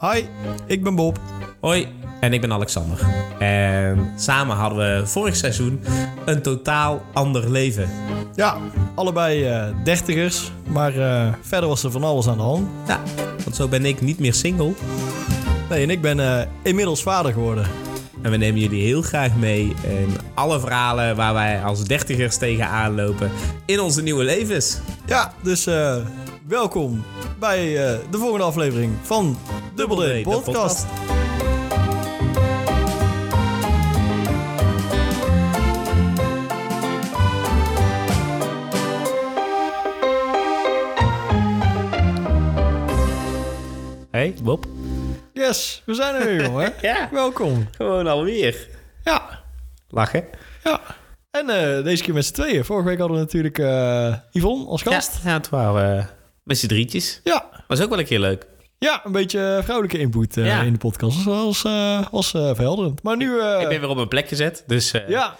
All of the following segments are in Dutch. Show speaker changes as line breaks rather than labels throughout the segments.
Hi, ik ben Bob.
Hoi, en ik ben Alexander. En samen hadden we vorig seizoen een totaal ander leven.
Ja, allebei eh, dertigers, maar eh, verder was er van alles aan de hand.
Ja, want zo ben ik niet meer single.
Nee, en ik ben eh, inmiddels vader geworden.
En we nemen jullie heel graag mee in alle verhalen waar wij als dertigers tegenaan lopen in onze nieuwe levens.
Ja, dus eh, welkom bij eh, de volgende aflevering van Double D,
De
podcast.
podcast. Hey, Bob.
Yes, we zijn er weer, jongen.
Ja.
Welkom.
Gewoon alweer.
Ja,
Lachen.
ja. En eh, deze keer met z'n tweeën. Vorige week hadden we natuurlijk eh, Yvonne als
Ja,
gast.
ja, het waren eh, met z'n drietjes.
Ja,
Was ook wel een keer leuk.
ja een beetje vrouwelijke input eh,
Ja.
in de podcast. Dat was, eh, was eh, verhelderend. Maar nu... eh,
Ik ben weer op mijn plek gezet, dus eh,
ja,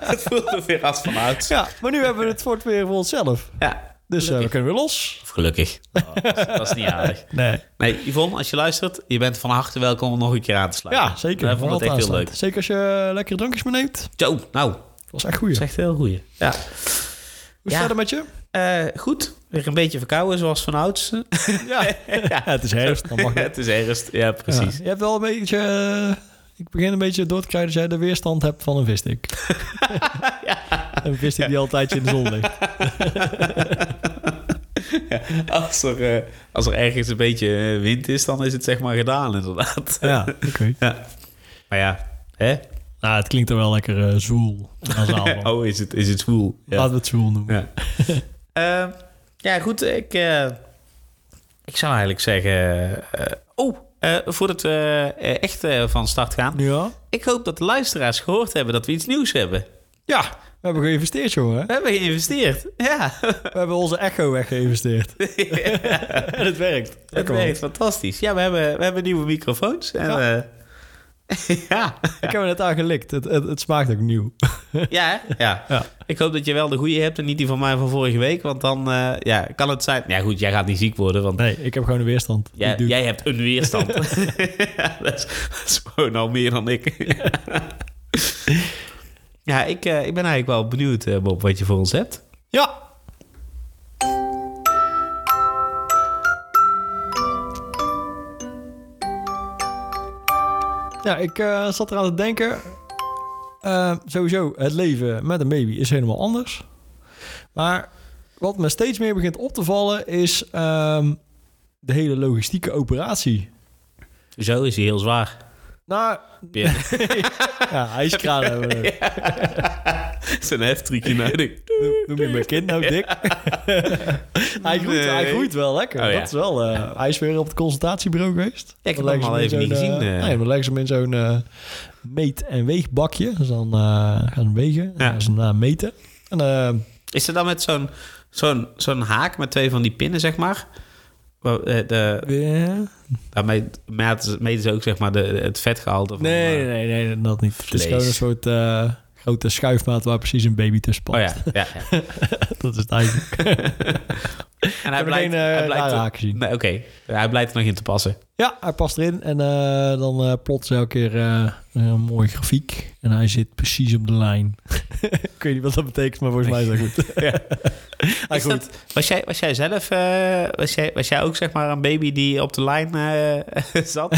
het voelt me weer als van ouds.
ja, maar nu hebben we het fort weer voor onszelf.
Ja,
Dus eh, we kunnen weer los.
of gelukkig. Oh, dat, is, dat is niet aardig.
Nee.
Nee, Yvonne, als je luistert, je bent van harte welkom om nog een keer aan te sluiten.
Ja, zeker.
Wij vonden het echt
Altijd
heel leuk.
aanstaand. Zeker als je eh, lekkere drankjes meeneemt.
Zo, nou,
Dat was echt
dat
goed.
is
Hoe
echt heel goeie. Ja.
is
Ja.
het verder met je?
Eh, goed, weer een beetje verkouden zoals van ouds.
Ja. het is herfst. Dan mag het.
het is herfst, ja precies.
Je hebt wel een beetje... eh, ik begin een beetje door te krijgen dat jij de weerstand hebt van een visnik. Een visnik die altijd in de zon ligt.
Als, er, eh, als er ergens een beetje eh, wind is, dan is het zeg maar gedaan inderdaad.
Ja, oké.
Ja. Maar ja, hè?
Nou, het klinkt er wel lekker eh, zwoel. Nasaal van.
Oh, is het, is het voel.
Laten we het zwoel noemen.
Ja. Eh, ja, goed. Ik, eh, ik zou eigenlijk zeggen... eh, oh, eh, voordat we eh, echt eh, van start gaan.
Nu al?
Ik hoop dat de luisteraars gehoord hebben dat we iets nieuws hebben.
Ja, we hebben geïnvesteerd, jongen.
We hebben geïnvesteerd. Ja,
We hebben onze echo weggeïnvesteerd. en het werkt.
dat werkt fantastisch. Ja, we hebben, we hebben nieuwe microfoons. En,
Ja.
eh, ja.
Ik heb er net aan gelikt. Het, het, het smaakt ook nieuw.
Ja, hè? ja.
Ja.
Ik hoop dat je wel de goede hebt en niet die van mij van vorige week. Want dan eh, ja, kan het zijn... Ja goed, jij gaat niet ziek worden, want
Nee, ik heb gewoon een weerstand.
Jij,
Ik doe-
jij hebt een weerstand. Ja, dat, is, dat is gewoon al meer dan ik. ja, ik, eh, ik ben eigenlijk wel benieuwd, eh, Bob, wat je voor ons hebt.
Ja. Ja, ik eh, zat eraan te denken. Eh, sowieso, het leven met een baby is helemaal anders. Maar wat me steeds meer begint op te vallen is ehm, de hele logistieke operatie.
Zo is hij heel zwaar.
Nou,
Ja.
ja, hijskraan hebben we.
Zijn heftrucje nodig.
Noem- Noem je mijn kind nou dik? hij, groeit, hij
Nee.
groeit wel lekker.
Oh, ja.
Dat is wel, eh, Hij is weer op het consultatiebureau geweest.
Ja, ik heb
Dan
hem
leggen
al
ze hem in
even
zo'n,
niet gezien,
eh,
eh.
nee, dan leggen ze hem in zo'n eh, meet- en weegbakje. Dus dan eh, gaan ze hem wegen. en
Ja.
gaan ze hem daarna meten. En, eh,
Is er dan met zo'n zo'n zo'n haak met twee van die pinnen, zeg maar? Waar, eh, de,
weer-
daarmee meten ze- meten ze ook zeg maar, de, het vetgehalte van...
nee, nee,
eh,
nee, nee, dat niet. Het is
vlees.
gewoon een soort eh, grote schuifmaat waar precies een baby tussen past.
Oh ja, ja, ja.
dat is het eigenlijk.
En
er
hij blijkt,
geen, eh,
hij blijkt
rare
er-
haak gezien.
Nee, Oké, hij blijkt er nog in te passen.
Ja, hij past erin. En eh, dan eh plotst elke keer eh, een mooie grafiek. En hij zit precies op de lijn. ik weet niet wat dat betekent, maar volgens mij is dat goed. Ah,
Ja.
Hij
Is
groeit.
dat- was, jij, was jij zelf, eh, was, jij, was jij ook zeg maar een baby die op de lijn eh, zat?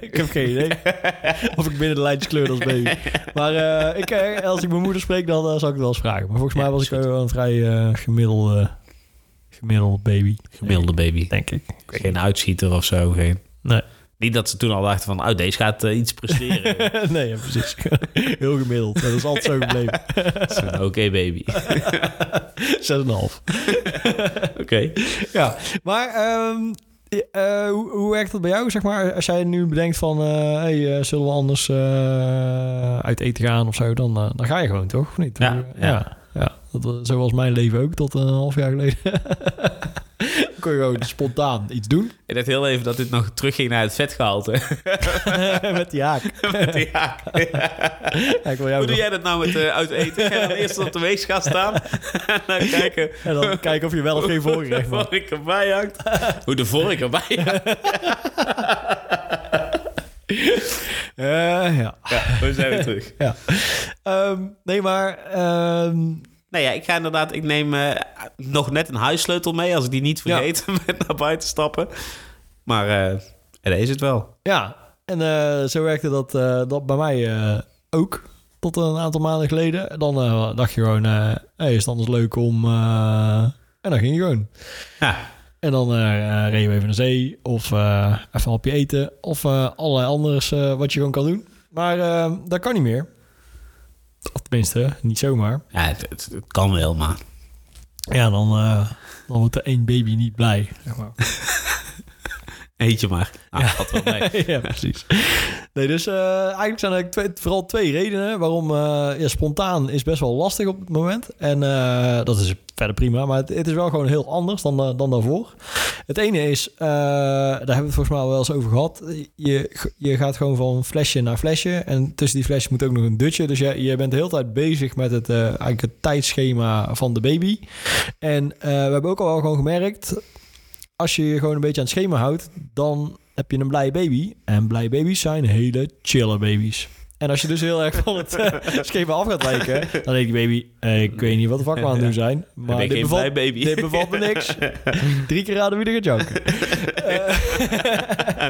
ik heb geen idee of ik binnen de lijntjes kleurde als baby. Maar eh, ik, eh, als ik mijn moeder spreek, dan eh, zal ik het wel eens vragen. Maar volgens
Ja,
mij was
is
ik wel een vrij eh, gemiddelde, gemiddelde baby.
Gemiddelde baby.
Denk ik.
Geen uitschieter of zo. Geen.
Nee.
Niet dat ze toen al dachten van, oh, deze gaat eh, iets presteren.
nee, ja, precies. Heel gemiddeld. Dat is altijd zo gebleven.
Dat is een Oké, baby.
6,5.
Oké.
Ja, maar ehm, eh, eh, hoe, hoe werkt dat bij jou? Zeg maar, als jij nu bedenkt van, eh, hey, eh, zullen we anders eh, uit eten gaan of zo, dan, eh, dan ga je gewoon toch? Of niet?
Ja,
Hoe-
ja.
eh, ja. ja. Dat, was- zo was mijn leven ook tot een half jaar geleden. ik kun je gewoon spontaan iets doen.
Ik dacht heel even dat dit nog terugging naar het vetgehalte.
Met die haak.
Met die haak.
Ja, ik wil jou
Hoe
nog-
doe jij dat nou met eh, uit eten? Ga je dan eerst op de weegschaal staan en dan kijken
En dan kijken of je wel of geen voorgerecht
hoe
mag.
de vork erbij hangt. Hoe de vork erbij hangt.
Eh, ja.
Ja, we zijn weer terug.
ja. Ehm, nee, maar... ehm,
Nou ja, ik ga inderdaad, ik neem eh, nog net een huissleutel mee als ik die niet
Ja.
vergeet met naar buiten stappen. Maar eh en is het wel.
ja, en eh, zo werkte dat, eh, dat bij mij eh, ook. Tot een aantal maanden geleden. Dan eh, dacht je gewoon, eh hey, is het anders leuk om... eh, en dan ging je gewoon.
Ja,
En dan eh, eh, reden we even naar zee of eh, even een hapje eten of eh, allerlei anders eh, wat je gewoon kan doen. Maar eh, dat kan niet meer. Of tenminste, niet zomaar.
ja het, het- het kan wel, maar...
Ja, dan, eh, dan wordt er één baby niet blij. Zeg maar.
Eet je maar. Ah, valt wel mee.
ja, precies. Nee, dus eh, eigenlijk zijn er twee, vooral twee redenen waarom eh, ja, spontaan is best wel lastig op het moment. En eh, dat is verder prima, maar het, het is wel gewoon heel anders dan, eh, dan daarvoor. Het ene is, eh, daar hebben we het volgens mij al wel eens over gehad. Je, je gaat gewoon van flesje naar flesje en tussen die flesjes moet ook nog een dutje. Dus je, je bent de hele tijd bezig met het, eh, eigenlijk het tijdschema van de baby. En eh, we hebben ook al wel gewoon gemerkt, als je je gewoon een beetje aan het schema houdt, dan heb je een blije baby. En blije baby's zijn hele chille baby's. En als je dus heel erg van het eh, schema af gaat lijken, dan denkt die baby, eh, ik weet niet wat de fuck we aan het doen zijn. Maar
ben ik
dit
geen
bevalt-
blij baby.
Dit bevalt me niks. Drie keer raden wie er gaat janken. Eh,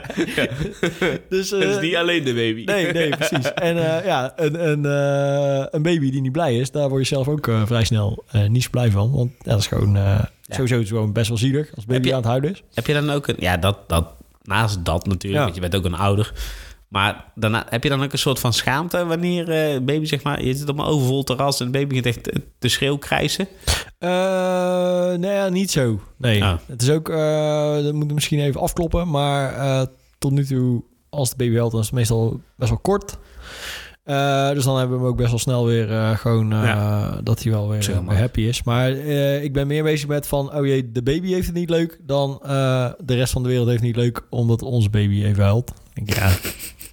dus, eh,
Het is niet alleen de baby.
Nee, nee, precies. En eh, ja, een, een, eh, een baby die niet blij is, daar word je zelf ook eh, vrij snel eh, niet zo blij van. Want ja, dat is gewoon eh, sowieso is gewoon best wel zielig als baby
Heb je-
aan het huilen is.
Heb je dan ook een... Ja, dat, dat, naast dat natuurlijk,
Ja.
want je bent ook een ouder. Maar daarna, heb je dan ook een soort van schaamte wanneer eh baby, zeg maar... Je zit op een overvol terras en het baby gaat echt te- te schreeuw krijsen?
Eh, nee, ja, niet zo. Nee.
Ah.
Het is ook, eh dat moet ik misschien even afkloppen, maar eh, tot nu toe, als de baby huilt, dan is het meestal best wel kort. Eh, dus dan hebben we hem ook best wel snel weer eh, gewoon eh, dat hij wel weer
Zeg maar.
eh, happy is. Maar eh, ik ben meer bezig met van, oh jee, de baby heeft het niet leuk, dan eh, de rest van de wereld heeft het niet leuk, omdat onze baby even huilt. Ik denk, ja,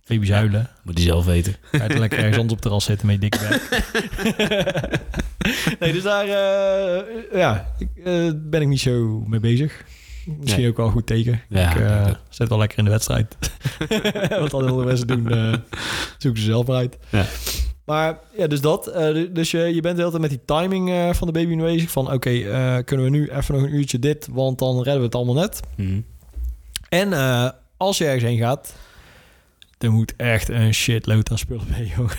baby's huilen.
Moet je zelf weten.
Ga je lekker ergens anders op het terras zitten met je dikke bek. nee, dus daar eh, ja, ik, eh, ben ik niet zo mee bezig. Misschien
Nee.
ook wel een goed teken.
Ja,
ik eh, zet wel lekker in de wedstrijd. Wat alle andere mensen doen, eh zoeken ze zelf maar uit.
Ja.
Maar ja, dus dat. Eh, du- dus je, je bent de hele tijd met die timing eh, van de baby bezig. Van oké, eh, kunnen we nu even nog een uurtje dit, want dan redden we het allemaal net.
Mhm.
En eh, als je ergens heen gaat, er moet echt een shitload aan spullen mee, joh.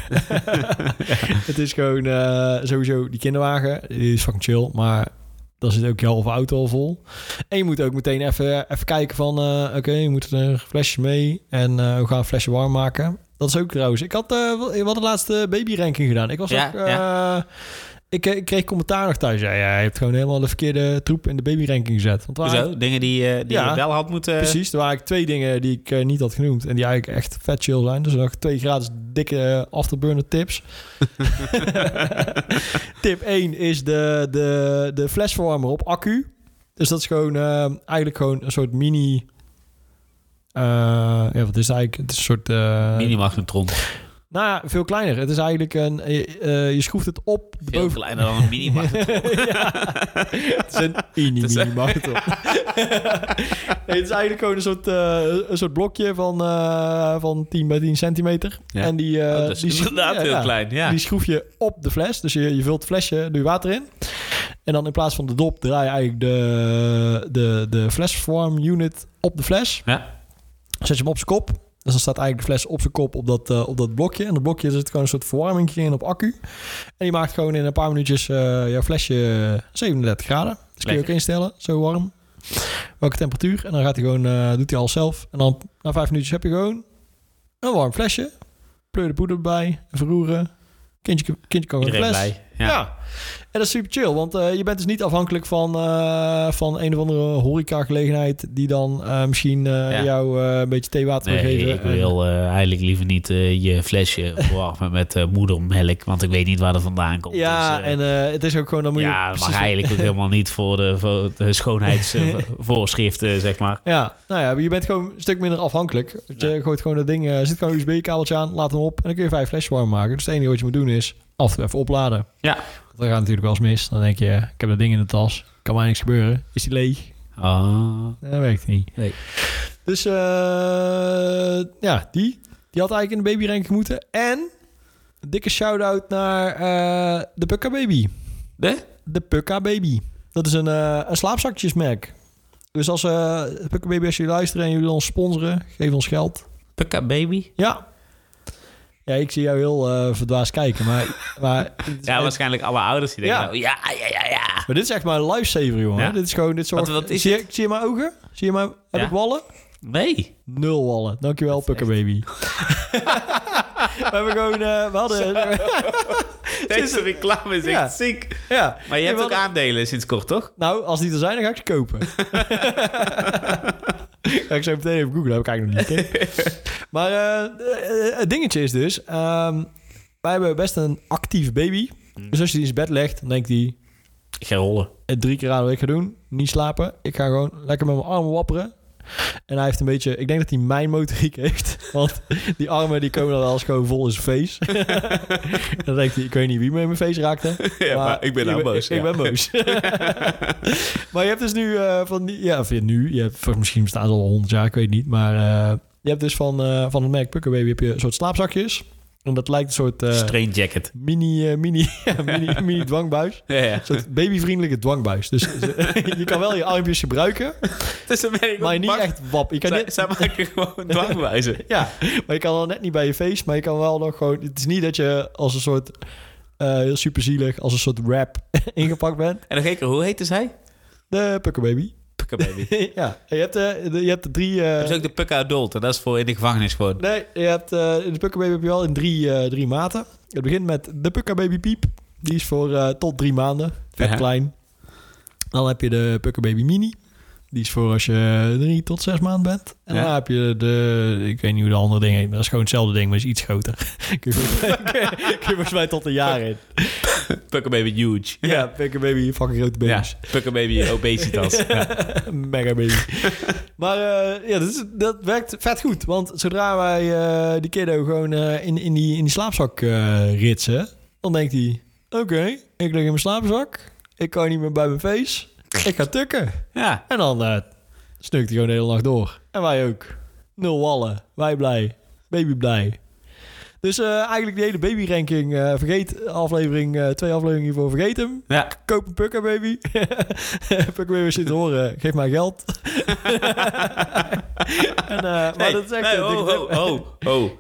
Het is gewoon eh, sowieso die kinderwagen, die is fucking chill, maar daar zit ook je halve auto al vol. En je moet ook meteen even, even kijken van, eh, oké, je moet er flesjes mee en eh, we gaan flesje warm maken. Dat is ook trouwens. Ik had, eh, wel- we hadden laatst de baby ranking gedaan. Ik was
Ja,
ook... eh, Ik, eh, ik kreeg commentaar nog thuis. Ja, ja, je hebt gewoon helemaal de verkeerde troep in de baby ranking gezet. Want er waren
Hoezo? Dingen die, eh, die
Ja.
je wel had moeten...
Precies, er waren eigenlijk twee dingen die ik eh, niet had genoemd. En die eigenlijk echt vet chill zijn. Dus nog twee gratis dikke eh, afterburner tips. Tip 1 is de, de, de flesverwarmer op accu. Dus dat is gewoon eh, eigenlijk gewoon een soort mini... eh, ja, wat is het eigenlijk? Het is een soort... eh,
Mini-magnetron.
nou ja, veel kleiner. Het is eigenlijk een... Je, eh, je schroeft het op. de
Veel
boven-
kleiner dan een mini-magnetron.
Het is een mini-mini-marathon. Nee, het is eigenlijk gewoon een soort, eh, een soort blokje van, eh, van 10 bij 10 centimeter.
Ja. Oh,
En die, eh,
dat is
die schroef-
inderdaad
ja,
heel
ja.
klein, ja.
Die schroef je op de fles. Dus je, je vult het flesje, doe je water in. En dan in plaats van de dop draai je eigenlijk de, de, de flesvorm unit op de fles.
Ja.
Zet je hem op zijn kop. Dus dan staat eigenlijk de fles op zijn kop op dat, eh, op dat blokje. En dat blokje zit gewoon een soort verwarming in op accu. En die maakt gewoon in een paar minuutjes eh, jouw flesje 37 graden. Dus kun je ook
Lekker.
instellen, zo warm. Welke temperatuur. En dan gaat hij gewoon, eh, doet hij alles zelf. En dan na vijf minuutjes heb je gewoon een warm flesje. Pleur de poeder erbij, verroeren. Kindje, kindje kan gewoon
Iedereen
fles.
blij.
Ja.
Ja.
En dat is super chill, want eh, je bent dus niet afhankelijk van, eh, van een of andere horecagelegenheid die dan eh, misschien eh,
Ja.
jou eh, een beetje theewater wil
Nee,
geven.
ik wil eh, eigenlijk liever niet eh, je flesje verwarmen met eh, moedermelk, want ik weet niet waar dat vandaan komt.
Ja,
Dus, eh,
en eh, het is ook gewoon, dan moet je
ja, dat
precies-
mag eigenlijk ook helemaal niet voor de, voor de schoonheidsvoorschriften, eh, zeg maar.
Ja, nou ja, maar je bent gewoon een stuk minder afhankelijk. Want Je gooit gewoon dat ding, eh zit gewoon een USB-kabeltje aan, laat hem op en dan kun je vijf flesjes warm maken. Dus het enige wat je moet doen is af en toe even opladen.
Ja.
Want dat gaat natuurlijk wel eens mis. Dan denk je, eh, ik heb dat ding in de tas, kan mij niks gebeuren. Is die leeg?
Ah.
Nee, Dat werkt niet.
Nee.
Dus eh, ja, die. Die had eigenlijk in de babyranking moeten. En een dikke shout-out naar eh, de Pukka Baby.
De?
De Pukka Baby. Dat is een, eh, een slaapzakjesmerk. Dus als eh Pukka Baby, als jullie luisteren en jullie ons sponsoren, geef ons geld.
Pukka baby?
Ja. Ja, ik zie jou heel eh verdwaasd kijken, maar... maar
Ja, waarschijnlijk alle ouders die denken,
Ja.
nou, ja, ja, ja, ja.
Maar dit is echt mijn lifesaver, jongen.
Ja?
Dit is gewoon... Dit soort.
Wat- wat is
zie, je, zie je mijn ogen? Zie je mijn... Heb
Ja.
ik wallen?
Nee.
Nul wallen. Dankjewel, Pukkerbaby. we hebben gewoon... eh, we hadden...
Deze reclame is echt
Ja.
ziek.
ja.
Maar je hebt
we
ook
hadden-
aandelen sinds kort, toch?
Nou, als die er zijn, dan ga ik ze kopen. ga ik zo meteen even googlen. Heb ik eigenlijk nog niet gekeken. maar eh, eh, het dingetje is dus... ehm, wij hebben best een actief baby. Dus als je die in zijn bed legt, dan denkt hij...
Ik ga rollen.
het drie keer aan wat ik ga doen. Niet slapen. Ik ga gewoon lekker met mijn armen wapperen. En hij heeft een beetje... Ik denk dat hij mijn motoriek heeft. Want die armen die komen dan wel eens gewoon vol in zijn face. dan denkt hij, ik weet niet wie me in mijn face raakte.
Ja, maar ik ben nou boos,
Ik,
ja.
ben boos. maar je hebt dus nu eh, van die... Ja, of je nu. Je hebt, voor- misschien bestaan ze al honderd jaar, ik weet niet. Maar eh, je hebt dus van, eh, van het merk Pukkerbaby heb je een soort slaapzakjes. En dat lijkt een soort eh,
Strain jacket.
mini, eh, mini, mini, mini dwangbuis.
Ja, ja.
Een soort babyvriendelijke dwangbuis. Dus ze- je kan wel je armpjes gebruiken,
Dus dan ben ik
maar
ook
niet
bang.
echt wap. Je kan
Zij,
net,
zij maken gewoon dwangwijzen.
ja, maar je kan wel net niet bij je face, maar je kan wel nog gewoon... Het is niet dat je als een soort, eh, heel superzielig, als een soort rap ingepakt bent.
En nog één keer, hoe heette zij?
De pukkerbaby.
Pukka baby.
ja, en je hebt, eh, de, je hebt de drie... eh,
Dat is ook de Pukka adult en dat is voor in de gevangenis gewoon.
nee, je hebt, eh, in de pukkerbaby heb je wel in drie, eh, drie maten. Het begint met de pukkerbaby piep. Die is voor eh, tot drie maanden. Vet
Ja.
klein. Dan heb je de Pukkerbaby Mini. Die is voor als je drie tot zes maanden bent. En
Ja.
dan heb je de, ik weet niet hoe de andere ding heet, maar dat is gewoon hetzelfde ding, maar is iets groter. Kun je volgens mij- kun je volgens mij tot een jaar in.
Pukka baby huge.
Ja, Pukkerbaby, fucking grote
Ja,
baby's.
Pukka baby obesitas. Ja.
Mega baby. maar eh, ja, dat, is, dat werkt vet goed. Want zodra wij eh, die kiddo gewoon eh, in, in, die, in die slaapzak eh, ritsen, dan denkt hij, oké, ik lig in mijn slaapzak. Ik kan niet meer bij mijn face. Ik ga tukken.
ja.
En dan eh sneukt hij gewoon de hele nacht door. En wij ook. Nul wallen. Wij blij. Baby blij. Dus eh, eigenlijk die hele babyranking eh vergeet. Aflevering, eh, twee afleveringen hiervoor vergeet hem.
ja.
Koop een pukka baby. pukka baby als je het horen. Geef mij geld. en, eh, maar
Nee,
dat is echt...
nee,
een dikke
oh,
tip.
oh, oh, oh.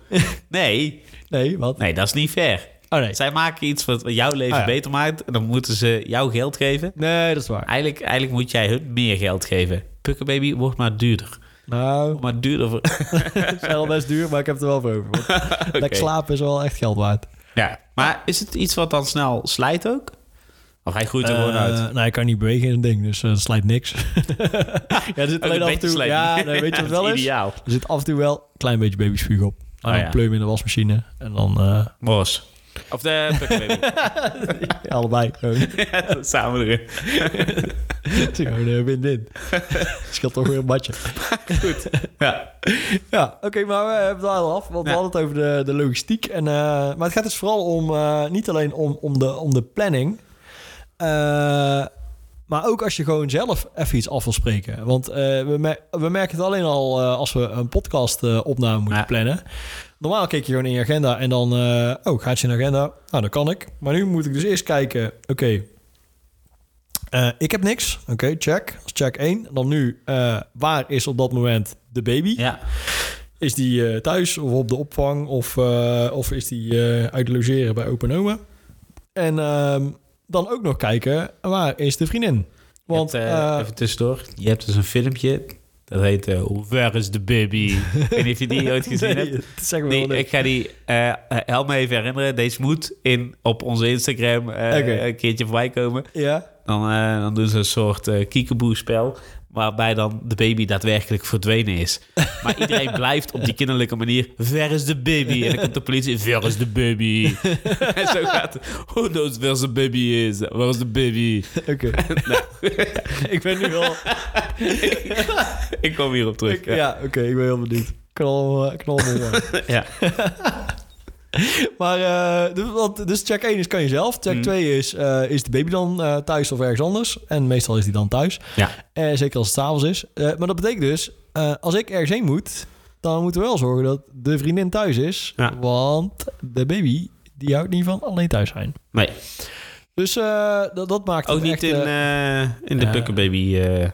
Nee,
Nee, wat?
nee, dat is niet fair.
Oh nee.
Zij maken iets wat jouw leven
Ah, ja.
beter maakt en dan moeten ze jou geld geven.
Nee, dat is waar.
Eigenlijk, eigenlijk moet jij hun meer geld geven. Pukkenbaby wordt maar duurder.
Nou,
Wordt maar duurder voor...
het zijn al best duur, maar ik heb het er wel voor over. Want
Oké.
Lekker slapen is wel echt geld waard.
Ja, maar is het iets wat dan snel slijt ook? Of hij groeit er
Eh,
gewoon uit?
Nou, hij kan niet bewegen in een ding, dus eh, het slijt niks. ja, er zit alleen
Ook een
af en
beetje
toe...
slijt.
Ja, nee, weet je wat
Dat
wel is?
Ideaal.
Er zit af en toe wel een klein beetje babyspuug op. En
Oh,
dan
ja.
pleur je hem in de wasmachine en dan eh,
Mos. Of de Pukkenbaby.
allebei gewoon.
Ja, Samen erin.
Het is gewoon eh, win-win. Scheelt toch weer een badje.
Ja.
Ja, oké, maar we hebben het al af, want
Ja.
we hadden het over de, de logistiek. En, eh, maar het gaat dus vooral om, eh, niet alleen om, om, de, om de planning, eh, maar ook als je gewoon zelf even iets af wil spreken. Want eh, we, mer- we merken het alleen al eh, als we een podcast eh, opname moeten
Ja.
plannen. Normaal keek je gewoon in je agenda en dan, eh, oh, gaat je in de agenda? Nou, dat kan ik. Maar nu moet ik dus eerst kijken, oké, eh, ik heb niks. Oké, check. Dat is check 1. Dan nu, eh, waar is op dat moment de baby?
ja.
Is die eh, thuis of op de opvang? Of, eh, of is die eh, uit logeren bij open oma? En ehm, dan ook nog kijken, waar is de vriendin?
Want
Want eh,
even tussendoor, je hebt dus een filmpje Dat heet eh, Where is the Baby? ik weet niet of je die ooit gezien
Nee,
hebt.
dat zeg maar
Die,
wel
ik ga die, eh eh, help me even herinneren. Deze moet in, op onze Instagram eh,
Oké.
een keertje voorbij komen.
Ja?
Dan, eh, dan doen ze een soort eh kiekeboe-spel. Waarbij dan de baby daadwerkelijk verdwenen is. Maar iedereen blijft op die kinderlijke manier. Ver is de baby? En dan komt de politie. Ver is de baby? en zo gaat het. Who knows where the baby is? Where is the baby?
Oké. ik ben nu al...
Ik kom hierop terug.
Ik- ja, oké, ik ben heel benieuwd. Knal, eh, knal me maar.
Ja.
Maar, eh, dus, want- dus check 1 is kan je zelf. Check
Mm.
2 is, eh, is de baby dan eh, thuis of ergens anders? En meestal is die dan thuis.
Ja.
Eh, zeker als het s'avonds is. Eh, maar dat betekent dus, eh, als ik ergens heen moet... dan moeten we wel zorgen dat de vriendin thuis is.
Ja.
Want de baby, die houdt niet van alleen thuis zijn.
Nee,
Dus eh, dat, dat maakt
ook
het
niet
echt,
in,
eh,
eh, in de
ja.
Pukkenbaby. eh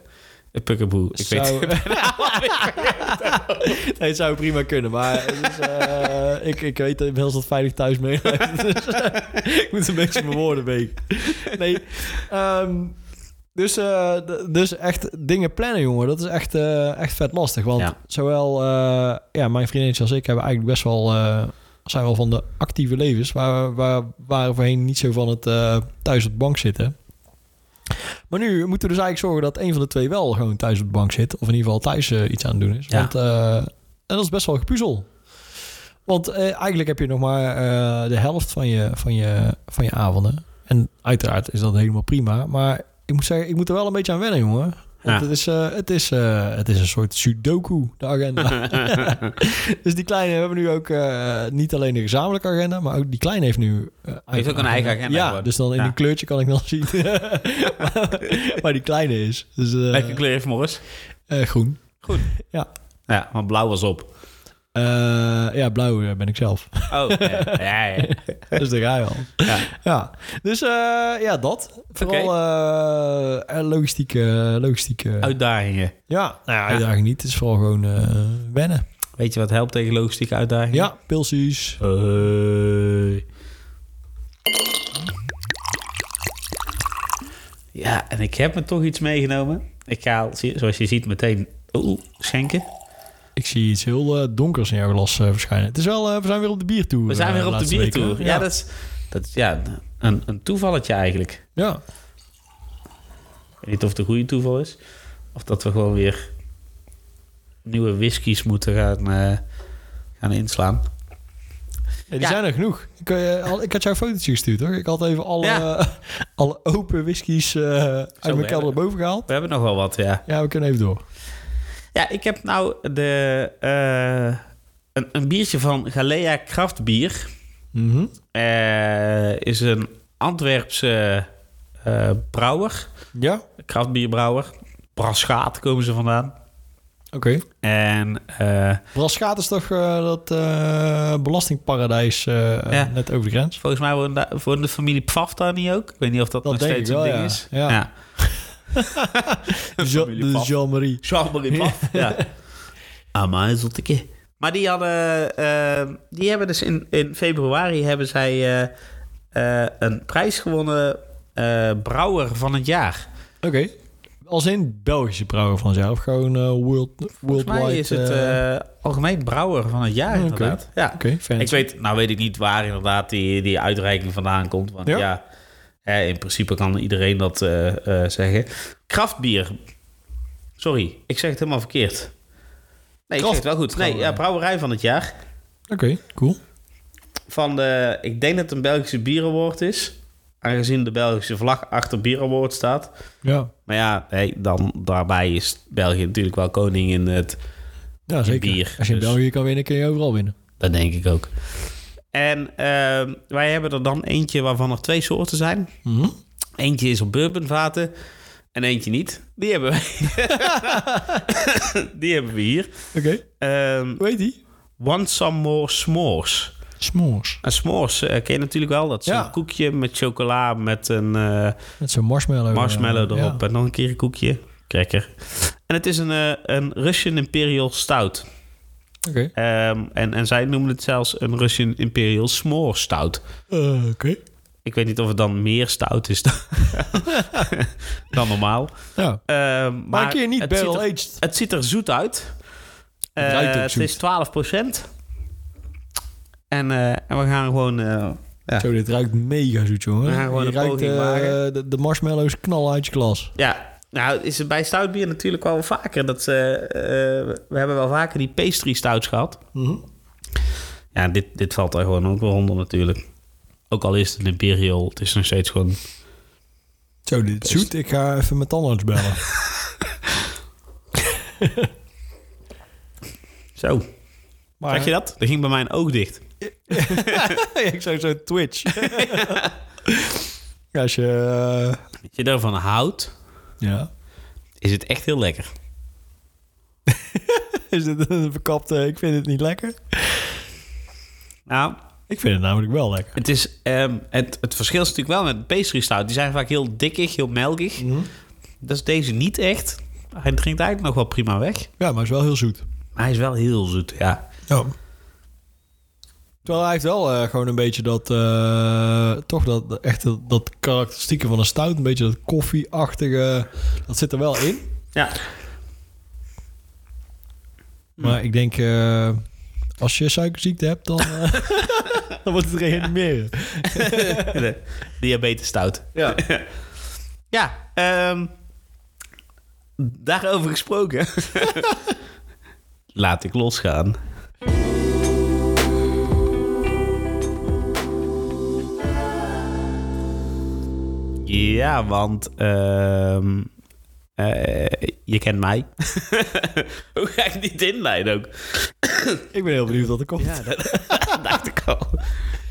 Pukkenboe. Ik weet
zou... Nee, het zou prima kunnen, maar het is, eh, ik, ik weet inmiddels dat veilig thuis mee. Dus, ik moet een beetje mijn woorden wegen. Nee, ehm, dus, eh, d- dus echt dingen plannen, jongen, dat is echt, eh, echt vet lastig. Want
Ja.
zowel eh, ja, mijn vriendinnetje als ik hebben eigenlijk best wel, eh, zijn wel van de actieve levens. Waar, we- waar, waren voorheen niet zo van het eh, thuis op de bank zitten. Maar nu moeten we dus eigenlijk zorgen dat een van de twee wel gewoon thuis op de bank zit. Of in ieder geval thuis eh, iets aan het doen is.
Ja.
Want eh, en dat is best wel gepuzzel. Want eh, eigenlijk heb je nog maar eh, de helft van je, van, je, van je avonden. En uiteraard is dat helemaal prima. Maar ik moet zeggen, ik moet er wel een beetje aan wennen, jongen. Want
Ja.
het, is, eh, het, is, eh, het is een soort sudoku, de agenda. dus die kleine, we hebben nu ook eh, niet alleen een gezamenlijke agenda, maar ook die kleine heeft nu... eh,
Heeft ook een eigen agenda
Ja,
geworden.
dus dan in
Ja.
een kleurtje kan ik dan zien waar die kleine is. Dus, eh,
Welke kleur heeft Morris?
eh, groen.
Ja, want blauw was op.
Eh, ja, blauw eh, ben ik zelf.
Oh, ja, ja, ja.
dus daar ga je al.
Ja.
Ja, dus eh, ja, dat. Vooral eh, eh, logistieke... logistieke
Oh, Uitdagingen.
ja, nou ja, uitdaging niet. Het is vooral gewoon eh, wennen.
Weet je wat helpt tegen logistieke uitdagingen?
Ja, pilsies.
Hoi. Ja, en ik heb me toch iets meegenomen. Ik ga, zoals je ziet, meteen oeh, schenken.
Ik zie iets heel eh, donkers in jouw glas eh, verschijnen. Het is wel, eh, we zijn weer op de biertour.
We zijn
eh,
weer op de
laatste week,
biertour.
hè?
Ja,
Ja,
dat is, dat is ja, een, een toevalletje eigenlijk.
ja.
Ik weet niet of het een goede toeval is. Of dat we gewoon weer nieuwe whiskies moeten gaan, eh, gaan inslaan.
Ja, die
Ja.
zijn er genoeg. Ik, eh, al- ik had jouw fotootje gestuurd, hoor. Ik had even alle,
Ja.
eh, alle open whiskies eh, uit
hebben
mijn kelder
we.
boven gehaald.
We hebben nog wel wat, ja.
Ja, we kunnen even door.
Ja, ik heb nou de, eh, een, een biertje van Galea Kraftbier.
Mhm.
Eh, is een Antwerpse eh, brouwer,
Ja, oké.
kraftbierbrouwer. Braschaat komen ze vandaan. En eh,
Braschaat is toch eh, dat eh, belastingparadijs eh,
Ja.
net over de grens?
volgens mij worden, da- worden de familie Pfaff daar niet ook. Ik weet niet of dat,
Dat
nog
denk
steeds
ik
een
wel,
ding
ja.
is.
Ja. Ja,
Familie
de
Pfaff.
Jean-Marie.
Jean-Marie Paf. ja. Amai, zottekie. Maar die hadden... eh, die hebben dus in, in februari hebben zij eh, eh, een prijs gewonnen... eh, brouwer van het jaar.
Oké. Als in Belgische brouwer van zelf, gewoon eh, world,
Volgens
worldwide.
mij is het
eh,
eh, algemeen brouwer van het jaar
Oké.
inderdaad. Ja.
Oké, fancy.
Ik weet, nou weet ik niet waar inderdaad die, die uitreiking vandaan komt. Want
Ja.
ja, hè, in principe kan iedereen dat eh, eh, zeggen. Kraftbier. Sorry, ik zeg het helemaal verkeerd. Nee, ik zeg het wel goed. Nee,
Kraftbrouwerij.
ja, brouwerij van het jaar.
Oké, cool.
Van de, ik denk dat het een Belgische bierenwoord is. Aangezien de Belgische vlag achter bierenwoord staat.
Ja,
Maar ja, nee, dan, daarbij is België natuurlijk wel koning in het
ja zeker.
bier,
Als je in
dus.
België kan winnen, kun je overal winnen.
Dat denk ik ook. En ehm, wij hebben er dan eentje waarvan er twee soorten zijn.
Mhm.
Eentje is op bourbonvaten en eentje niet. Die hebben wij. die hebben we hier.
Oké,
Ehm
hoe heet die?
Want some more s'mores.
S'mores.
En s'mores eh, ken je natuurlijk wel. Dat is
Ja.
een koekje met chocola, met een eh,
Met zo'n marshmallow.
marshmallow
eh,
erop. En nog een keer een koekje. Cracker. En het is een, eh, een Russian Imperial Stout.
ja. Oké.
Ehm, en, en zij noemen het zelfs een Russian Imperial S'more Stout.
Eh, Oké.
Ik weet niet of het dan meer stout is dan, dan normaal.
Ja.
Eh,
Maar
maar
een keer niet
het ziet,
barrel
er,
aged.
het ziet er zoet uit. Eh,
Het ruikt ook
het
zoet.
is 12 En, eh, en we gaan gewoon... eh, Ja.
Zo, dit ruikt mega zoet, jongen.
We gaan gewoon
Je
een
ruikt
poging
eh,
maken.
de, de marshmallows knallen uit je glas.
ja, nou is het bij stoutbier natuurlijk wel vaker. Dat, ze, eh, we hebben wel vaker die pastry stouts gehad.
Mhm.
Ja, dit, dit valt daar gewoon ook wel onder natuurlijk. Ook al is het een imperial, het is nog steeds gewoon...
Zo, dit is
Best.
zoet. Ik ga even mijn tandarts bellen.
Zo,
Maar,
zag je dat? Dat ging bij mij een oog dicht.
ik zou zo Twitch. Als je... eh,
Als je daarvan houdt,
ja.
is het echt heel lekker.
Is dit een verkapte... Ik vind het niet lekker.
Nou,
Ik vind het namelijk wel lekker.
het, is, ehm, het, het verschil is natuurlijk wel met pastry stout. Die zijn vaak heel dikkig, heel melkig.
Mhm.
Dat is deze niet echt. Hij drinkt eigenlijk nog wel prima weg.
Ja, maar het is wel heel zoet.
Maar hij is wel heel zoet, ja.
Ja. Terwijl hij heeft wel eh, gewoon een beetje dat... eh, toch dat, echt dat, dat karakteristieke van een stout. Een beetje dat koffieachtige... Dat zit er wel in.
Ja,
Maar ik denk... eh, als je suikerziekte hebt, dan, eh, dan wordt het reanimeren.
De diabetes stout.
Ja.
Ja, ehm, daarover gesproken. Laat ik losgaan. Ja, want ehm, eh, je kent mij. Hoe ga ik dit inleiden ook?
Ik ben heel benieuwd wat er komt.
Ja, dat dacht ik al.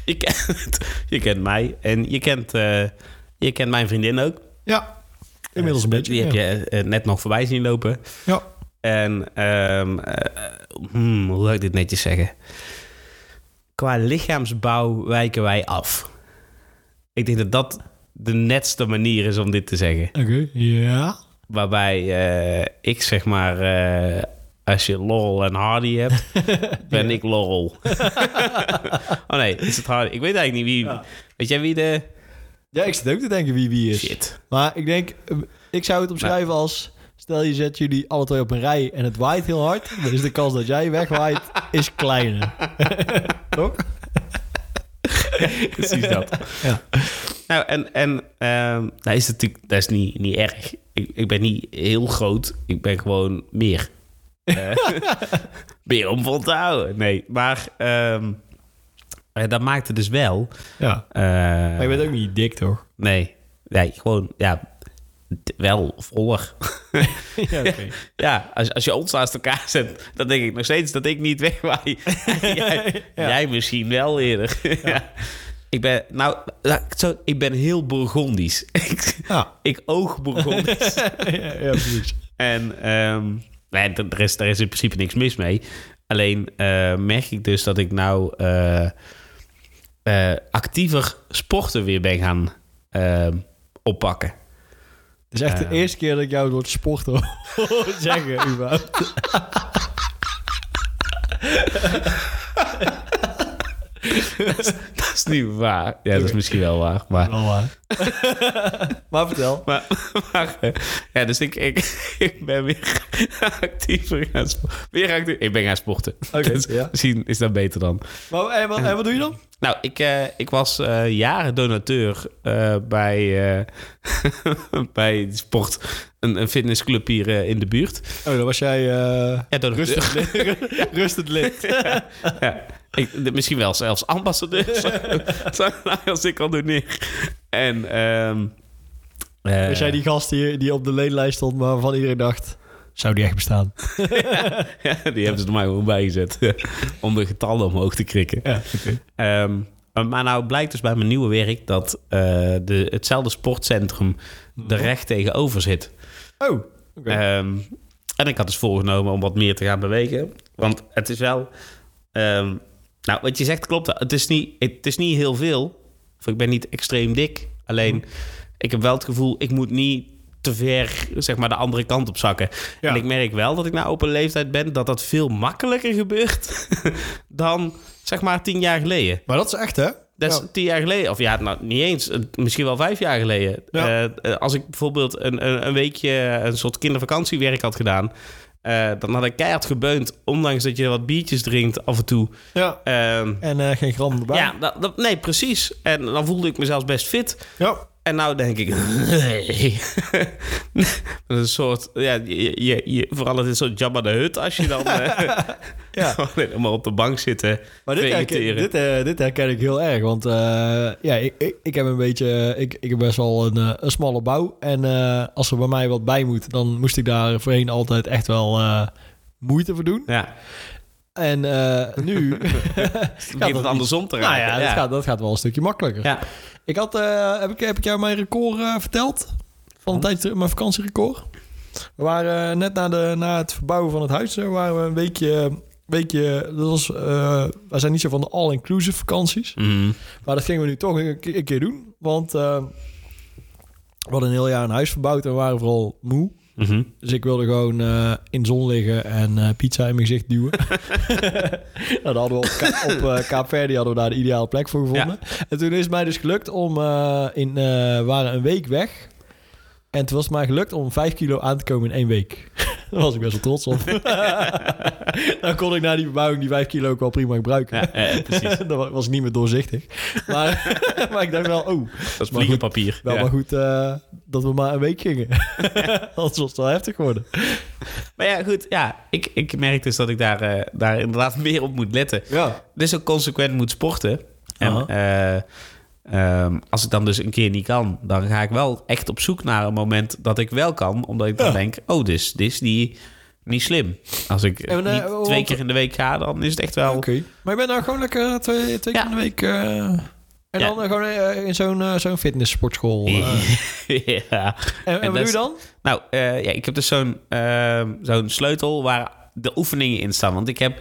Je kent, je kent mij en je kent, eh, je kent mijn vriendin ook.
Ja, inmiddels een
Eh,
beetje.
Die heb
ja.
je eh, net nog voorbij zien lopen.
Ja.
En ehm, eh, hmm, hoe ga ik dit netjes zeggen? Qua lichaamsbouw wijken wij af. Ik denk dat dat de netste manier is om dit te zeggen.
Oké, ja.
Waarbij eh, ik zeg maar, eh, als je Laurel en Hardy hebt, ben ik Laurel. oh nee, is het Hardy? Ik weet eigenlijk niet wie.
Ja.
Weet jij wie de.
Ja, ik zit ook te denken wie wie is.
Shit.
Maar ik denk, eh, ik zou het omschrijven als... Stel je zet jullie alle twee op een rij en het waait heel hard. Dan is de kans dat jij wegwaait, is kleiner. Toch?
Precies dat.
Ja.
Nou, en, en ehm, nou is het natuurlijk, dat is niet, niet erg. Ik, ik ben niet heel groot, ik ben gewoon meer. Eh, meer om vol te houden. Nee, maar ehm, eh, dat maakt het dus wel.
Ja.
eh,
Maar je bent ook niet dik, toch?
Nee, nee, gewoon, ja, d- wel voller.
ja,
Ja, als, als je ons naast elkaar zet, dan denk ik nog steeds dat ik niet wegwaai. jij,
Ja.
jij misschien wel eerder. Ja. Ik ben, nou, laat ik het zo, ik ben heel Bourgondisch. ik,
Ja.
ik oog Bourgondisch.
ja, ja, precies.
en ehm, nee, d- er, is, er is in principe niks mis mee. Alleen eh, merk ik dus dat ik nou eh, eh, actiever sporten weer ben gaan ehm, oppakken.
Het is echt de
Eh.
eerste keer dat ik jou het woord sport hoor zeggen, überhaupt.
dat is niet waar. Ja, dat is misschien wel waar. Maar
Wel waar. maar vertel.
Maar, maar, eh, ja, dus ik, ik, ik ben weer actiever gaan sporten. Weer actief, ik ben gaan sporten.
Oké,
Dus
ja.
Misschien is dat beter dan.
Maar, en, wat, en wat doe je dan?
Nou, ik, eh, ik was eh, jaren donateur eh, bij, eh, bij sport, een, een fitnessclub hier eh, in de buurt.
Oh, dan was jij eh,
Ja, donateur.
rustig, lid. rustig lid.
ja. Ik, de- misschien wel zelfs ambassadeur. zou- zou ik- als ik al doneer. En, ehm eh,
Was jij die gast die, die op de leenlijst stond, maar waarvan iedereen dacht... Zou die echt bestaan?
Ja, die hebben ze er maar gewoon bijgezet. om de getallen omhoog te krikken.
Ja,
Ehm, maar nou blijkt dus bij mijn nieuwe werk dat eh, de, hetzelfde sportcentrum er recht tegenover zit.
Oh, oké.
Ehm, en ik had dus voorgenomen om wat meer te gaan bewegen. Want het is wel. ehm, nou, wat je zegt klopt. wel. Het is niet, het is niet heel veel. Of ik ben niet extreem dik. Alleen
Mhm.
ik heb wel het gevoel, ik moet niet te ver zeg maar, de andere kant op zakken.
Ja.
En ik merk wel dat ik nou op een leeftijd ben dat dat veel makkelijker gebeurt dan zeg maar tien jaar geleden.
Maar dat is echt, hè?
Dat is
Ja.
tien jaar geleden. Of ja, nou, niet eens. eh, Misschien wel vijf jaar geleden.
Ja.
Eh, eh, als ik bijvoorbeeld een, een, een weekje eh, een soort kindervakantiewerk had gedaan... eh, dan had ik keihard gebeund, ondanks dat je wat biertjes drinkt af en toe.
Ja.
Ehm,
En eh, geen gram erbij.
ja, dat, dat- nee, precies. En dan voelde ik mezelf best fit.
Ja.
En nou denk ik... nee. dat is een soort... Ja, je, je, je, vooral het is zo'n Jabba de Hut als je dan... eh,
Ja.
gewoon helemaal op de bank zitten.
Maar dit herken,
vegeteren.
dit, eh, dit herken ik heel erg. Want eh, ja, ik, ik, ik heb een beetje. eh, Ik, ik heb best wel een, eh, een smalle bouw. En eh, als er bij mij wat bij moet, dan moest ik daar voorheen altijd echt wel eh, moeite voor doen.
Ja,
En eh, nu.
het begint het andersom te
nou
raken.
ja, dat, Gaat, dat gaat wel een stukje makkelijker.
Ja.
Ik had, eh, heb, ik, heb ik jou mijn record eh, verteld? Van een tijdje terug, mijn vakantierecord. We waren eh, net na, de, na het verbouwen van het huis, eh, waren we een weekje... weekje dat was, eh, wij zijn niet zo van de all-inclusive vakanties.
Mhm.
Maar dat gingen we nu toch een, ke- een keer doen. Want eh, we hadden een heel jaar een huis verbouwd en we waren vooral moe.
Mhm.
Dus ik wilde gewoon eh, in de zon liggen en eh, pizza in mijn gezicht duwen. nou, daar hadden we op, Ka- op eh, Kaapverdi hadden we daar de ideale plek voor gevonden. En toen is het mij dus gelukt om... eh, in, eh, we waren een week weg. En toen was het mij gelukt om vijf kilo aan te komen in één week. daar was ik best wel trots op. Dan kon ik na die verbouwing die vijf kilo ook wel prima gebruiken.
Ja, eh, precies.
Dan wa- was ik niet meer doorzichtig. Maar, maar ik dacht wel, oh,
Dat is vliegenpapier.
wel
ja.
maar goed eh, dat we maar een week gingen. Anders was het wel heftig geworden.
Maar ja, goed. Ja, ik, ik merk dus dat ik daar, eh, daar inderdaad meer op moet letten.
Ja.
Dus ook consequent moet sporten. En
Aha.
eh, ehm, als ik dan dus een keer niet kan, dan ga ik wel echt op zoek naar een moment dat ik wel kan. Omdat ik dan
Ja.
denk, oh, dus dit is die, niet slim. Als ik
En, eh,
niet
want-
twee keer in de week ga, dan is het echt
Oké.
wel...
Maar je bent nou gewoon lekker twee, twee
Ja.
keer in de week... eh, en
Ja.
dan eh, gewoon eh, in zo'n eh, zo'n fitnesssportschool. eh.
ja.
en, en wat doe
En dat
je
is-
dan?
Nou, eh, ja, ik heb dus zo'n ehm, zo'n sleutel waar de oefeningen in staan. Want ik heb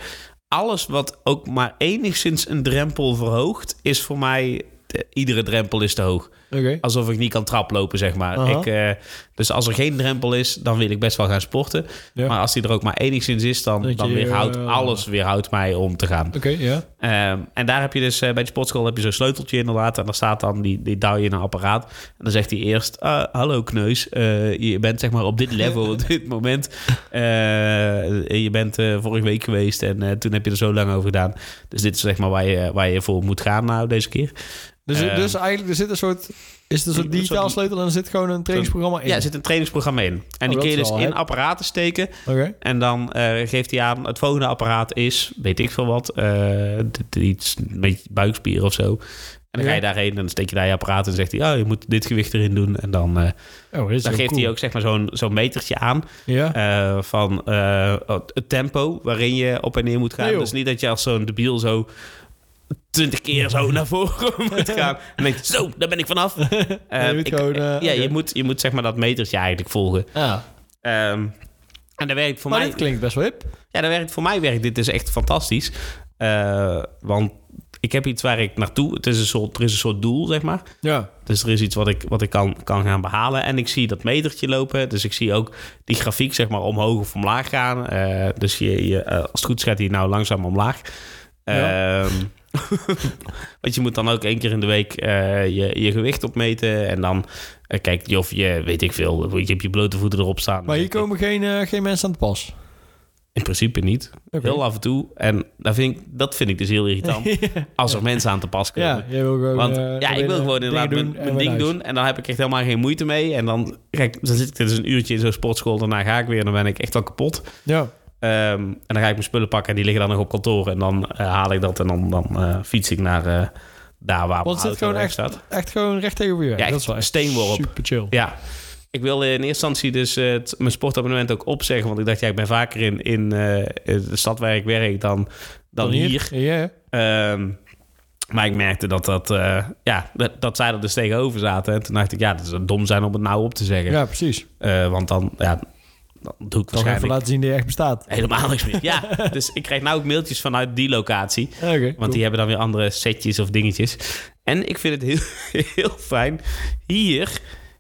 alles wat ook maar enigszins een drempel verhoogt, is voor mij... de- iedere drempel is te hoog.
Oké.
Alsof ik niet kan traplopen, zeg maar.
Aha.
Ik, eh, dus als er geen drempel is, dan wil ik best wel gaan sporten.
Ja.
Maar als die er ook maar enigszins is, dan,
Dat
dan
je,
weerhoudt
eh,
alles weerhoudt mij om te gaan.
Oké, ja.
Ehm, en daar heb je dus, eh, bij de sportschool heb je zo'n sleuteltje inderdaad. En daar staat dan, die, die duw je in een apparaat. En dan zegt hij eerst, "Ah, hallo kneus, eh, je bent zeg maar op dit level op dit moment. Eh, je bent eh, vorige week geweest en eh, toen heb je er zo lang over gedaan. Dus dit is zeg maar waar je, waar je voor moet gaan nou deze keer.
Dus,
Ehm.
dus eigenlijk er zit een soort... Is het een soort
Een soort-
digitaal sleutel en er zit gewoon een trainingsprogramma in?
Ja, er zit een trainingsprogramma in. En die
Oh, dat
kun je
is
dus
wel
in
hype.
apparaten steken.
Oké.
En dan eh, geeft hij aan, het volgende apparaat is, weet ik veel wat, eh, dit- iets met buikspier of zo. En dan
Ja.
ga je daarheen en dan steek je daar je apparaat en zegt hij, oh, je moet dit gewicht erin doen. En dan, eh,
Oh, dit is
dan
heel
geeft
cool.
hij ook zeg maar zo'n zo'n metertje aan
Ja.
eh, van eh, het tempo waarin je op en neer moet gaan.
Nee, joh.
dus niet dat je als zo'n debiel zo twintig keer zo naar voren moet gaan. En denkt, zo, daar ben ik vanaf. Eh,
je moet
ik-
gewoon, eh,
ja, je,
oké.
moet, je moet zeg maar dat metertje eigenlijk volgen.
Ah.
Ehm, en dat werkt voor
Maar
mij.
dit klinkt best wel hip.
Ja, dat werkt voor mij werkt dit dus echt fantastisch. Eh, want ik heb iets waar ik naartoe. Het is een soort, er is een soort doel, zeg maar.
Ja.
Dus er is iets wat ik, wat ik kan, kan gaan behalen. En ik zie dat metertje lopen. Dus ik zie ook die grafiek zeg maar, omhoog of omlaag gaan. Eh, dus je, je, eh, als het goed is gaat hij nou langzaam omlaag.
Ja.
Ehm, Want je moet dan ook één keer in de week eh, je, je gewicht opmeten. En dan eh, kijk je of je, weet ik veel, je hebt je blote voeten erop staan.
Maar hier komen geen, eh, geen mensen aan te pas.
In principe niet.
Oké.
Heel af en toe. En dat vind, ik, dat vind ik dus heel irritant. Als er mensen aan te pas komen.
Ja, jij wil gewoon...
Want
eh,
ja, ik
binnen
wil gewoon
dingen
inderdaad
doen
mijn,
en
mijn
weer
ding
naar huis.
doen. En dan heb ik echt helemaal geen moeite mee. En dan, kijk, dan zit ik dus een uurtje in zo'n sportschool. Daarna ga ik weer en dan ben ik echt wel kapot.
Ja.
Ehm, en dan ga ik mijn spullen pakken en die liggen dan nog op kantoor. En dan eh, haal ik dat en dan, dan eh, fiets ik naar eh, daar waar
Want
mijn
het zit
auto
gewoon echt,
staat.
echt gewoon recht tegenover je.
Ja, echt
dat is wel echt
steenworp.
Super chill.
Ja. Ik wilde in eerste instantie dus eh, het- mijn sportabonnement ook opzeggen. Want ik dacht, ja, ik ben vaker in, in eh, de stad waar ik werk dan, dan, hier.
Ja.
Ehm, maar ik merkte dat, dat, eh, ja, dat, dat zij er dus tegenover zaten. En toen dacht ik, ja, dat zou dom zijn om het nou op te zeggen.
ja, precies.
Eh, want dan, ja, dan doe ik
Toch even
waarschijnlijk
laten zien dat je echt bestaat.
helemaal niks meer. Ja, dus ik krijg nou ook mailtjes vanuit die locatie.
Ja, Oké.
Want die hebben dan weer andere setjes of dingetjes. En ik vind het heel, heel fijn. Hier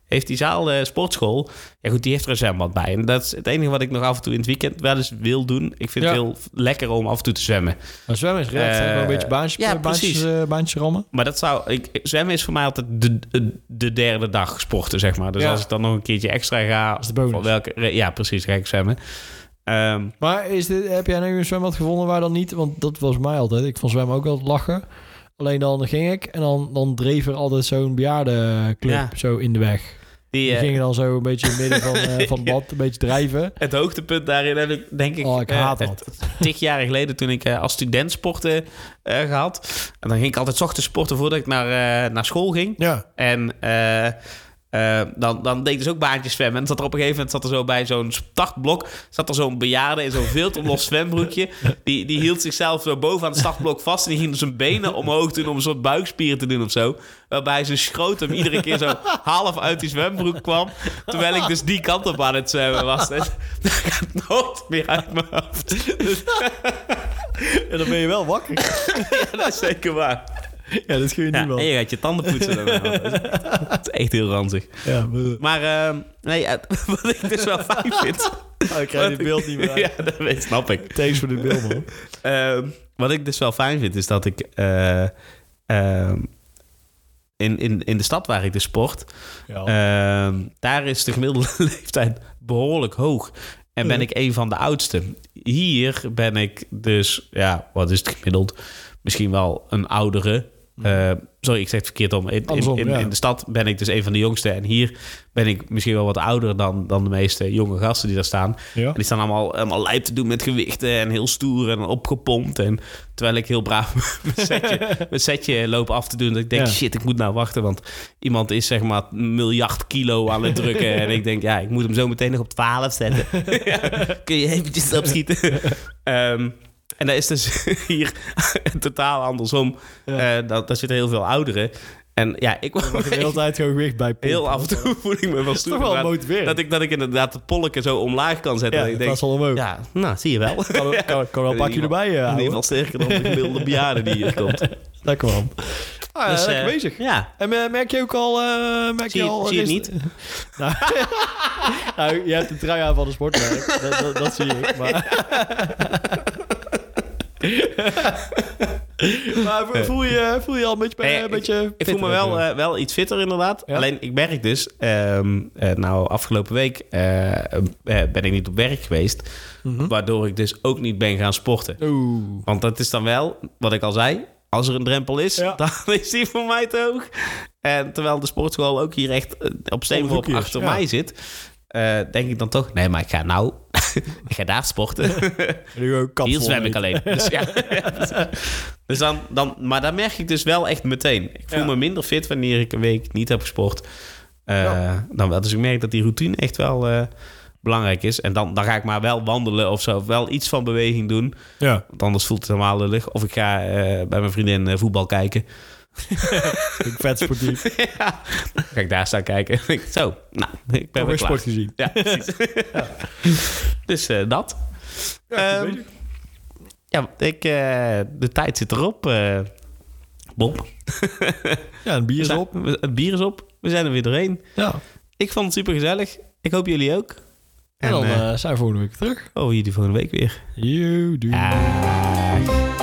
heeft die zaal eh, sportschool. Ja goed, die heeft er een zwembad bij. En dat is het enige wat ik nog af en toe in het weekend wel eens wil doen. Ik vind
Ja.
het heel lekker om af en toe te zwemmen.
Maar zwemmen is red.
Eh,
een beetje baantje,
ja,
baantjes,
precies.
eh, baantje rammen.
Maar dat zou, ik, zwemmen is voor mij altijd de, de derde dag sporten, zeg maar. Dus
Ja.
als ik dan nog een keertje extra ga...
is de bonus.
Van welke, re- ja, precies, ga ik zwemmen. Ehm,
Maar is dit, heb jij nu een zwembad gevonden waar dan niet... Want dat was mij altijd. Ik vond zwemmen ook altijd lachen. Alleen dan ging ik en dan, dan dreef er altijd zo'n bejaardenclub
Ja.
zo in de weg.
die,
Die
eh,
gingen dan zo een beetje in het midden van, eh, van het bad, een beetje drijven.
het hoogtepunt daarin heb ik, denk ik...
Oh, ik
eh,
haat
echt
dat.
tig jaar geleden toen ik eh, als student sporten eh, gehad. En dan ging ik altijd 's ochtends sporten voordat ik naar, eh, naar school ging.
Ja.
En eh, eh, dan, dan deed ik dus ook baantjes zwemmen. En zat er op een gegeven moment zat er zo bij zo'n startblok... zat er zo'n bejaarde in zo'n veeltomlos zwembroekje. Die, die hield zichzelf zo boven aan het startblok vast... en die ging zijn benen omhoog doen om een soort buikspieren te doen of zo. Waarbij zijn schroot hem iedere keer zo half uit die zwembroek kwam... terwijl ik dus die kant op aan het zwemmen was. En dat gaat nooit meer uit mijn hoofd. Dus
En dan ben je wel wakker.
ja, dat is zeker waar.
ja, dat gun je
Ja,
niemand.
en je gaat je tanden poetsen. dan wel. Dat is echt- dat is echt heel ranzig.
Ja, bleh.
Maar ehm, nee, ja, wat ik dus wel fijn vind.
Oh, ik krijg dit
Wat ik-
beeld niet meer uit.
Ja, dat weet, snap ik.
Thanks voor dit beeld, man.
Ehm, wat ik dus wel fijn vind, is dat ik eh, ehm, in, in, in de stad waar ik dus sport,
Ja.
ehm, daar is de gemiddelde leeftijd behoorlijk hoog. En ben
Ja.
ik een van de oudste. Hier ben ik dus, ja, wat is het gemiddeld? Misschien wel een oudere. Eh, sorry, ik zeg het verkeerd om. In, in,
Hmm. Andersom,
in,
ja.
in de stad ben ik dus een van de jongste. En hier ben ik misschien wel wat ouder dan, dan de meeste jonge gasten die daar staan.
Ja.
En die staan allemaal, allemaal lijp te doen met gewichten en heel stoer en opgepompt. En terwijl ik heel braaf mijn setje, mijn setje loop af te doen. Dat ik denk,
Ja.
shit, ik moet nou wachten. Want iemand is zeg maar een miljard kilo aan het drukken. en ik denk, ja, ik moet hem zo meteen nog op 12 zetten. Ja, kun je eventjes opschieten? Ehm, en daar is dus hier totaal andersom.
Ja.
Eh, dat, daar zitten heel veel ouderen. En ja, ik word
Mag je de hele tijd gewoon gewicht bij pompen.
heel af en toe voel ik me wel stoer.
wel
maar
motiverend.
Dat ik, dat ik inderdaad de polken zo omlaag kan zetten.
Ja,
dat ik
dat
denk,
was al omhoog.
ja, nou, zie je wel.
Kan, kan, kan wel een pakje erbij, eh,
In
ouwe.
ieder geval sterker dan de gemiddelde bejaarde die hier komt.
Lekker man. Ah, ja,
Dus,
lekker
eh,
bezig.
Ja.
En eh, merk je ook al... eh merk
Zie
je
je,
al
zie je het
rest-
niet?
Nou, nou, je hebt de trui aan van de sportmerk. Dat, dat, dat zie ik. Maar, maar vo- voel, je, voel je al een beetje... bij-
Nee,
een beetje
Ik voel me
fitter,
wel,
eh,
eh, wel iets fitter inderdaad.
Ja?
Alleen ik merk dus, ehm, eh, nou afgelopen week eh, eh, ben ik niet op werk geweest.
Mhm.
Waardoor ik dus ook niet ben gaan sporten.
Oeh.
Want dat is dan wel, wat ik al zei, als er een drempel is,
Ja.
dan is die voor mij te hoog. En terwijl de sportschool ook hier echt eh, op
Om de hoek
steenworp
hier is,
achter
ja.
mij zit, eh, denk ik dan toch, nee, maar ik ga nou, ik ga daar sporten.
Nu ook kapsel
Hier zwem ik
eten.
alleen. Dus ja. dus dan, dan, maar dan merk ik dus wel echt meteen. Ik voel
Ja.
me minder fit wanneer ik een week niet heb gesport. eh,
Ja.
dan wel. Dus ik merk dat die routine echt wel eh, belangrijk is. En dan, dan ga ik maar wel wandelen of zo. Of wel iets van beweging doen.
Ja.
Want anders voelt het helemaal lullig. Of ik ga eh, bij mijn vriendin eh, voetbal kijken.
Ik vet sportief. Ik
ja. Dan ga ik daar staan kijken. En denk ik, zo, nou, ik ben
heb
weer
weer
klaar.
sport gezien.
Ja, precies. Dus eh, dat.
Ja,
Ehm, ja, ik, eh, de tijd zit erop. eh Bob.
ja, een bier
We
is
zijn-
op.
we- Het bier is op. We zijn er weer doorheen.
Ja. En,
Ik vond het super gezellig. Ik hoop jullie ook. En,
dan
eh,
eh, zijn we volgende week terug.
oh, jullie volgende week weer.
You do.
Ah.